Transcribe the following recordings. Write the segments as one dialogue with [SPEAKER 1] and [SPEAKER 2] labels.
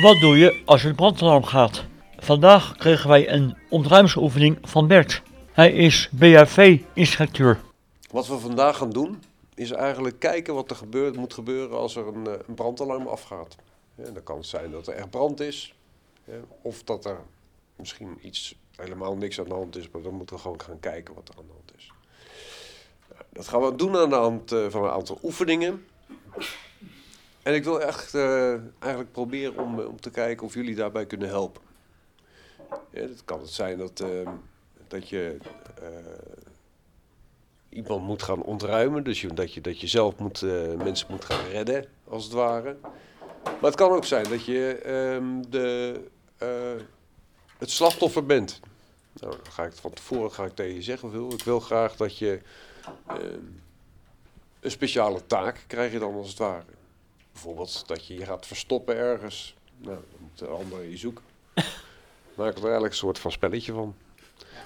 [SPEAKER 1] Wat doe je als een brandalarm gaat? Vandaag kregen wij een ontruimingsoefening van Bert. Hij is BHV-instructeur.
[SPEAKER 2] Wat we vandaag gaan doen, is eigenlijk kijken wat er gebeurt, moet gebeuren als er een, eh, een brandalarm afgaat. Ja, dan kan het zijn dat er echt brand is, ja, of dat er misschien iets, helemaal niks aan de hand is, maar dan moeten we gewoon gaan kijken wat er aan de hand is. Nou, Dat gaan we doen aan de hand eh, van een aantal oefeningen. En ik wil echt eh, eigenlijk proberen om, eh, om te kijken of jullie daarbij kunnen helpen. Ja, dat kan het zijn dat, eh, dat je eh, iemand moet gaan ontruimen. Dus je, dat, je, dat je zelf moet, eh, mensen moet gaan redden, als het ware. Maar het kan ook zijn dat je ehm, de, eh, het slachtoffer bent. Nou, dan ga ik het van tevoren ga ik tegen je zeggen. Wil. Ik wil graag dat je ehm, een speciale taak krijg je dan als het ware. Bijvoorbeeld dat je je gaat verstoppen ergens. Nou, dan moet de ander je zoeken. Maak er eigenlijk een soort van spelletje van.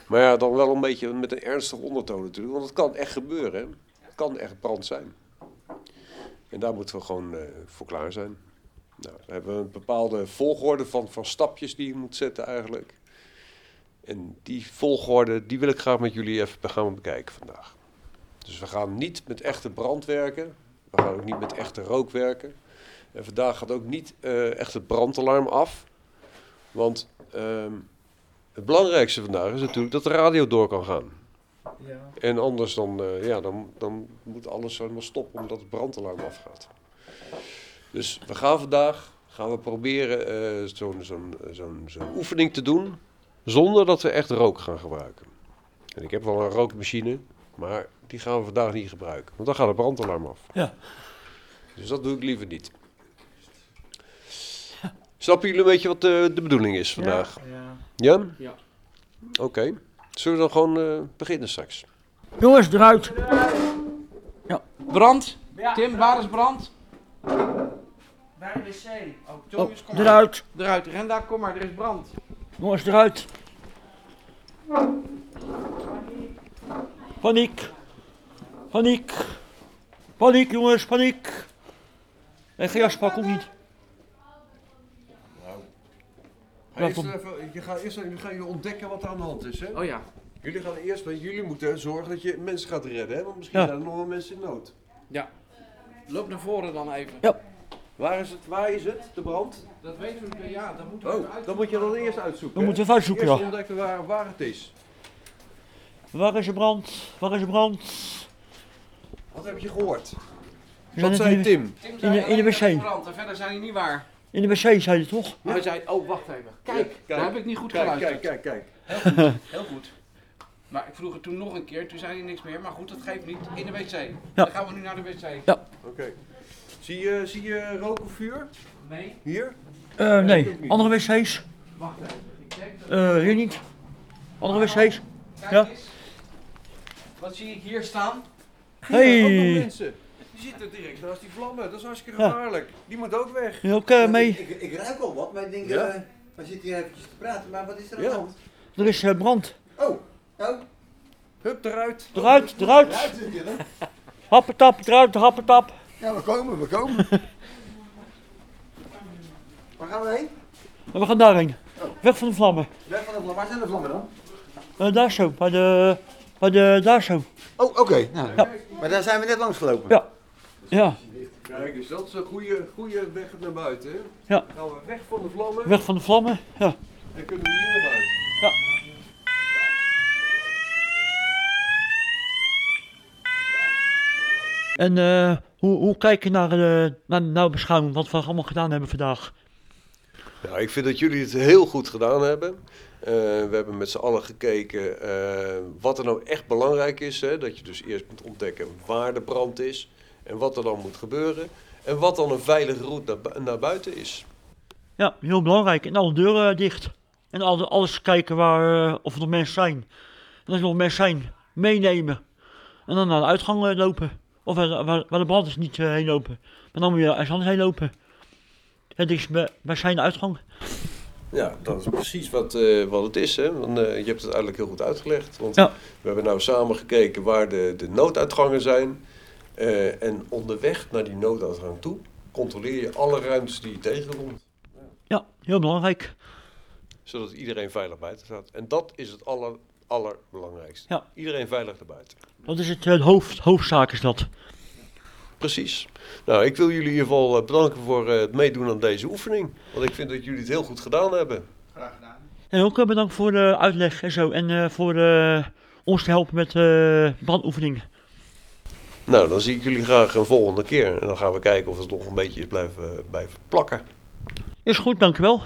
[SPEAKER 2] Maar ja, dan wel een beetje met een ernstig ondertoon natuurlijk. Want het kan echt gebeuren. hè. Het kan echt brand zijn. En daar moeten we gewoon eh, voor klaar zijn. Nou, we hebben we een bepaalde volgorde van, van stapjes die je moet zetten eigenlijk. En die volgorde, die wil ik graag met jullie even gaan bekijken vandaag. Dus we gaan niet met echte brand werken. We gaan ook niet met echte rook werken. En vandaag gaat ook niet eh, echt het brandalarm af. Want... ehm, het belangrijkste vandaag is natuurlijk dat de radio door kan gaan. En anders dan, eh, ja, dan, dan moet alles helemaal stoppen omdat het brandalarm afgaat. Dus we gaan vandaag gaan we proberen eh, zo'n zo'n zo'n zo'n oefening te doen zonder dat we echt rook gaan gebruiken. En ik heb wel een rookmachine, maar die gaan we vandaag niet gebruiken, want dan gaat het brandalarm af.
[SPEAKER 1] Ja.
[SPEAKER 2] Dus dat doe ik liever niet. Snappen jullie een beetje wat eh, de, de bedoeling is vandaag?
[SPEAKER 3] Ja.
[SPEAKER 2] Ja?
[SPEAKER 3] Ja.
[SPEAKER 2] Oké. Zullen we dan gewoon eh, beginnen straks?
[SPEAKER 1] Jongens, eruit!
[SPEAKER 3] Brand. Tim, waar is brand?
[SPEAKER 4] Bij de wc.
[SPEAKER 3] Oh,
[SPEAKER 1] Oh,
[SPEAKER 3] Thomas, kom maar.
[SPEAKER 1] eruit!
[SPEAKER 3] Eruit. Renda, kom maar. Er is brand.
[SPEAKER 1] Jongens, eruit! Paniek! Paniek! Paniek, jongens, paniek! En geen jaspak ook niet.
[SPEAKER 2] Eerst
[SPEAKER 1] Welkom.
[SPEAKER 2] even, je gaat eerst je gaat je ontdekken wat er aan de hand is. Hè?
[SPEAKER 3] Oh ja.
[SPEAKER 2] Jullie gaan eerst, want jullie moeten zorgen dat je mensen gaat redden. Hè? Want misschien
[SPEAKER 1] Ja.
[SPEAKER 2] zijn er nog wel mensen in nood.
[SPEAKER 3] Ja. Loop naar voren dan even.
[SPEAKER 2] Waar is het, waar is het de brand?
[SPEAKER 3] Dat weten we niet. Ja, dat moeten we even
[SPEAKER 2] Oh,
[SPEAKER 3] uit.
[SPEAKER 2] dan moet je dan eerst uitzoeken.
[SPEAKER 1] We
[SPEAKER 2] hè?
[SPEAKER 1] moeten even uitzoeken,
[SPEAKER 2] Eerst
[SPEAKER 1] ja.
[SPEAKER 2] ontdekken waar, waar het is.
[SPEAKER 1] Waar is de brand? Waar is de brand?
[SPEAKER 2] Wat heb je gehoord?
[SPEAKER 1] We zijn
[SPEAKER 2] Wat
[SPEAKER 1] net
[SPEAKER 2] zei
[SPEAKER 1] in de-
[SPEAKER 2] Tim?
[SPEAKER 3] Tim
[SPEAKER 1] in de- in de
[SPEAKER 3] alleen
[SPEAKER 1] wc.
[SPEAKER 3] dat er Brand. En verder zijn die niet waar.
[SPEAKER 1] In de wc, zei hij toch?
[SPEAKER 3] Hij zei, oh wacht even. Kijk,
[SPEAKER 2] Ja, kijk.
[SPEAKER 3] daar heb ik niet goed
[SPEAKER 2] Kijk,
[SPEAKER 3] geluisterd.
[SPEAKER 2] kijk, kijk, kijk.
[SPEAKER 3] Heel goed. Maar ik vroeg het toen nog een keer. Toen zei hij niks meer. Maar goed, dat geeft niet. In de wc. Dan gaan we nu naar de wc.
[SPEAKER 2] Oké. Zie, je, zie je rook of vuur?
[SPEAKER 3] Nee.
[SPEAKER 2] Hier?
[SPEAKER 1] Eh,
[SPEAKER 2] ik ook
[SPEAKER 1] nee.
[SPEAKER 2] niet.
[SPEAKER 1] Andere wc's?
[SPEAKER 3] Wacht even. Ik denk dat...
[SPEAKER 1] Eh, hier niet. Andere wc's?
[SPEAKER 3] Kijk
[SPEAKER 1] Ja.
[SPEAKER 3] eens. Wat zie ik hier staan?
[SPEAKER 2] Hier, ook nog
[SPEAKER 1] Hey!
[SPEAKER 2] mensen. Die zitten direct naast die vlammen. Dat is hartstikke
[SPEAKER 1] Ja.
[SPEAKER 2] gevaarlijk. Die moet ook weg.
[SPEAKER 1] Wil je ook eh,
[SPEAKER 5] Ik,
[SPEAKER 1] mee?
[SPEAKER 5] ik, ik ruik al wat, maar ik denk,
[SPEAKER 2] Ja?
[SPEAKER 5] eh, we zitten hier eventjes te praten, maar wat is er aan
[SPEAKER 2] Ja.
[SPEAKER 5] de hand?
[SPEAKER 1] Er is eh, brand.
[SPEAKER 5] Oh, oh,
[SPEAKER 2] Hup, eruit.
[SPEAKER 1] Eruit, eruit!
[SPEAKER 5] ruikt het hier, hè?
[SPEAKER 1] Happetap, eruit, happetap!
[SPEAKER 5] Ja, we komen, we komen. Waar gaan we heen?
[SPEAKER 1] En we gaan daarheen. Weg van de vlammen.
[SPEAKER 5] Weg van de vlammen. Waar zijn de vlammen dan?
[SPEAKER 1] Eh, daar zo, bij de... Bij de... Daar zo.
[SPEAKER 5] Oh, oké. Nou, Maar daar zijn we net langs gelopen.
[SPEAKER 1] Ja. Ja,
[SPEAKER 2] Kijk eens, dat is een goede, goede weg naar buiten. hè?
[SPEAKER 1] Ja.
[SPEAKER 2] Gaan we weg van de vlammen
[SPEAKER 1] weg van de vlammen. Ja.
[SPEAKER 2] en kunnen we hier naar buiten.
[SPEAKER 1] Ja. En eh, hoe, hoe kijk je naar, de naar, naar de beschouwing? Wat we allemaal gedaan hebben vandaag?
[SPEAKER 2] Nou, ik vind dat jullie het heel goed gedaan hebben. Eh, we hebben met z'n allen gekeken eh, wat er nou echt belangrijk is. Hè? Dat je dus eerst moet ontdekken waar de brand is en wat er dan moet gebeuren. En wat dan een veilige route naar, bu- naar buiten is.
[SPEAKER 1] Ja, heel belangrijk. En alle deuren eh, dicht. En al, alles kijken waar, eh, of er nog mensen zijn. En als er nog mensen zijn, meenemen. En dan naar de uitgang eh, lopen. Of waar, waar, waar de brand is niet eh, heen lopen. Maar dan moet je ergens anders heen lopen. Het is bij, bij zijn uitgang.
[SPEAKER 2] Ja, dat is precies wat, eh, wat het is. Hè? Want, eh, je hebt het eigenlijk heel goed uitgelegd. Want
[SPEAKER 1] Ja.
[SPEAKER 2] we hebben nou samen gekeken waar de, de nooduitgangen zijn. Eh, en onderweg naar die nooduitgang toe controleer je alle ruimtes die je tegenkomt.
[SPEAKER 1] Ja, heel belangrijk.
[SPEAKER 2] Zodat iedereen veilig buiten staat. En dat is het aller, allerbelangrijkste.
[SPEAKER 1] Ja.
[SPEAKER 2] Iedereen veilig erbuiten.
[SPEAKER 1] Dat is het eh, hoofd, hoofdzaak is dat.
[SPEAKER 2] Precies. Nou, ik wil jullie in ieder geval eh, bedanken voor eh, het meedoen aan deze oefening. Want ik vind dat jullie het heel goed gedaan hebben.
[SPEAKER 3] Graag gedaan.
[SPEAKER 1] En ook eh, bedankt voor de uitleg en zo. En eh, voor eh, ons te helpen met eh brandoefeningen.
[SPEAKER 2] Nou, dan zie ik jullie graag een volgende keer. En dan gaan we kijken of het nog een beetje is blijven, eh, blijven plakken.
[SPEAKER 1] Is goed, dankjewel.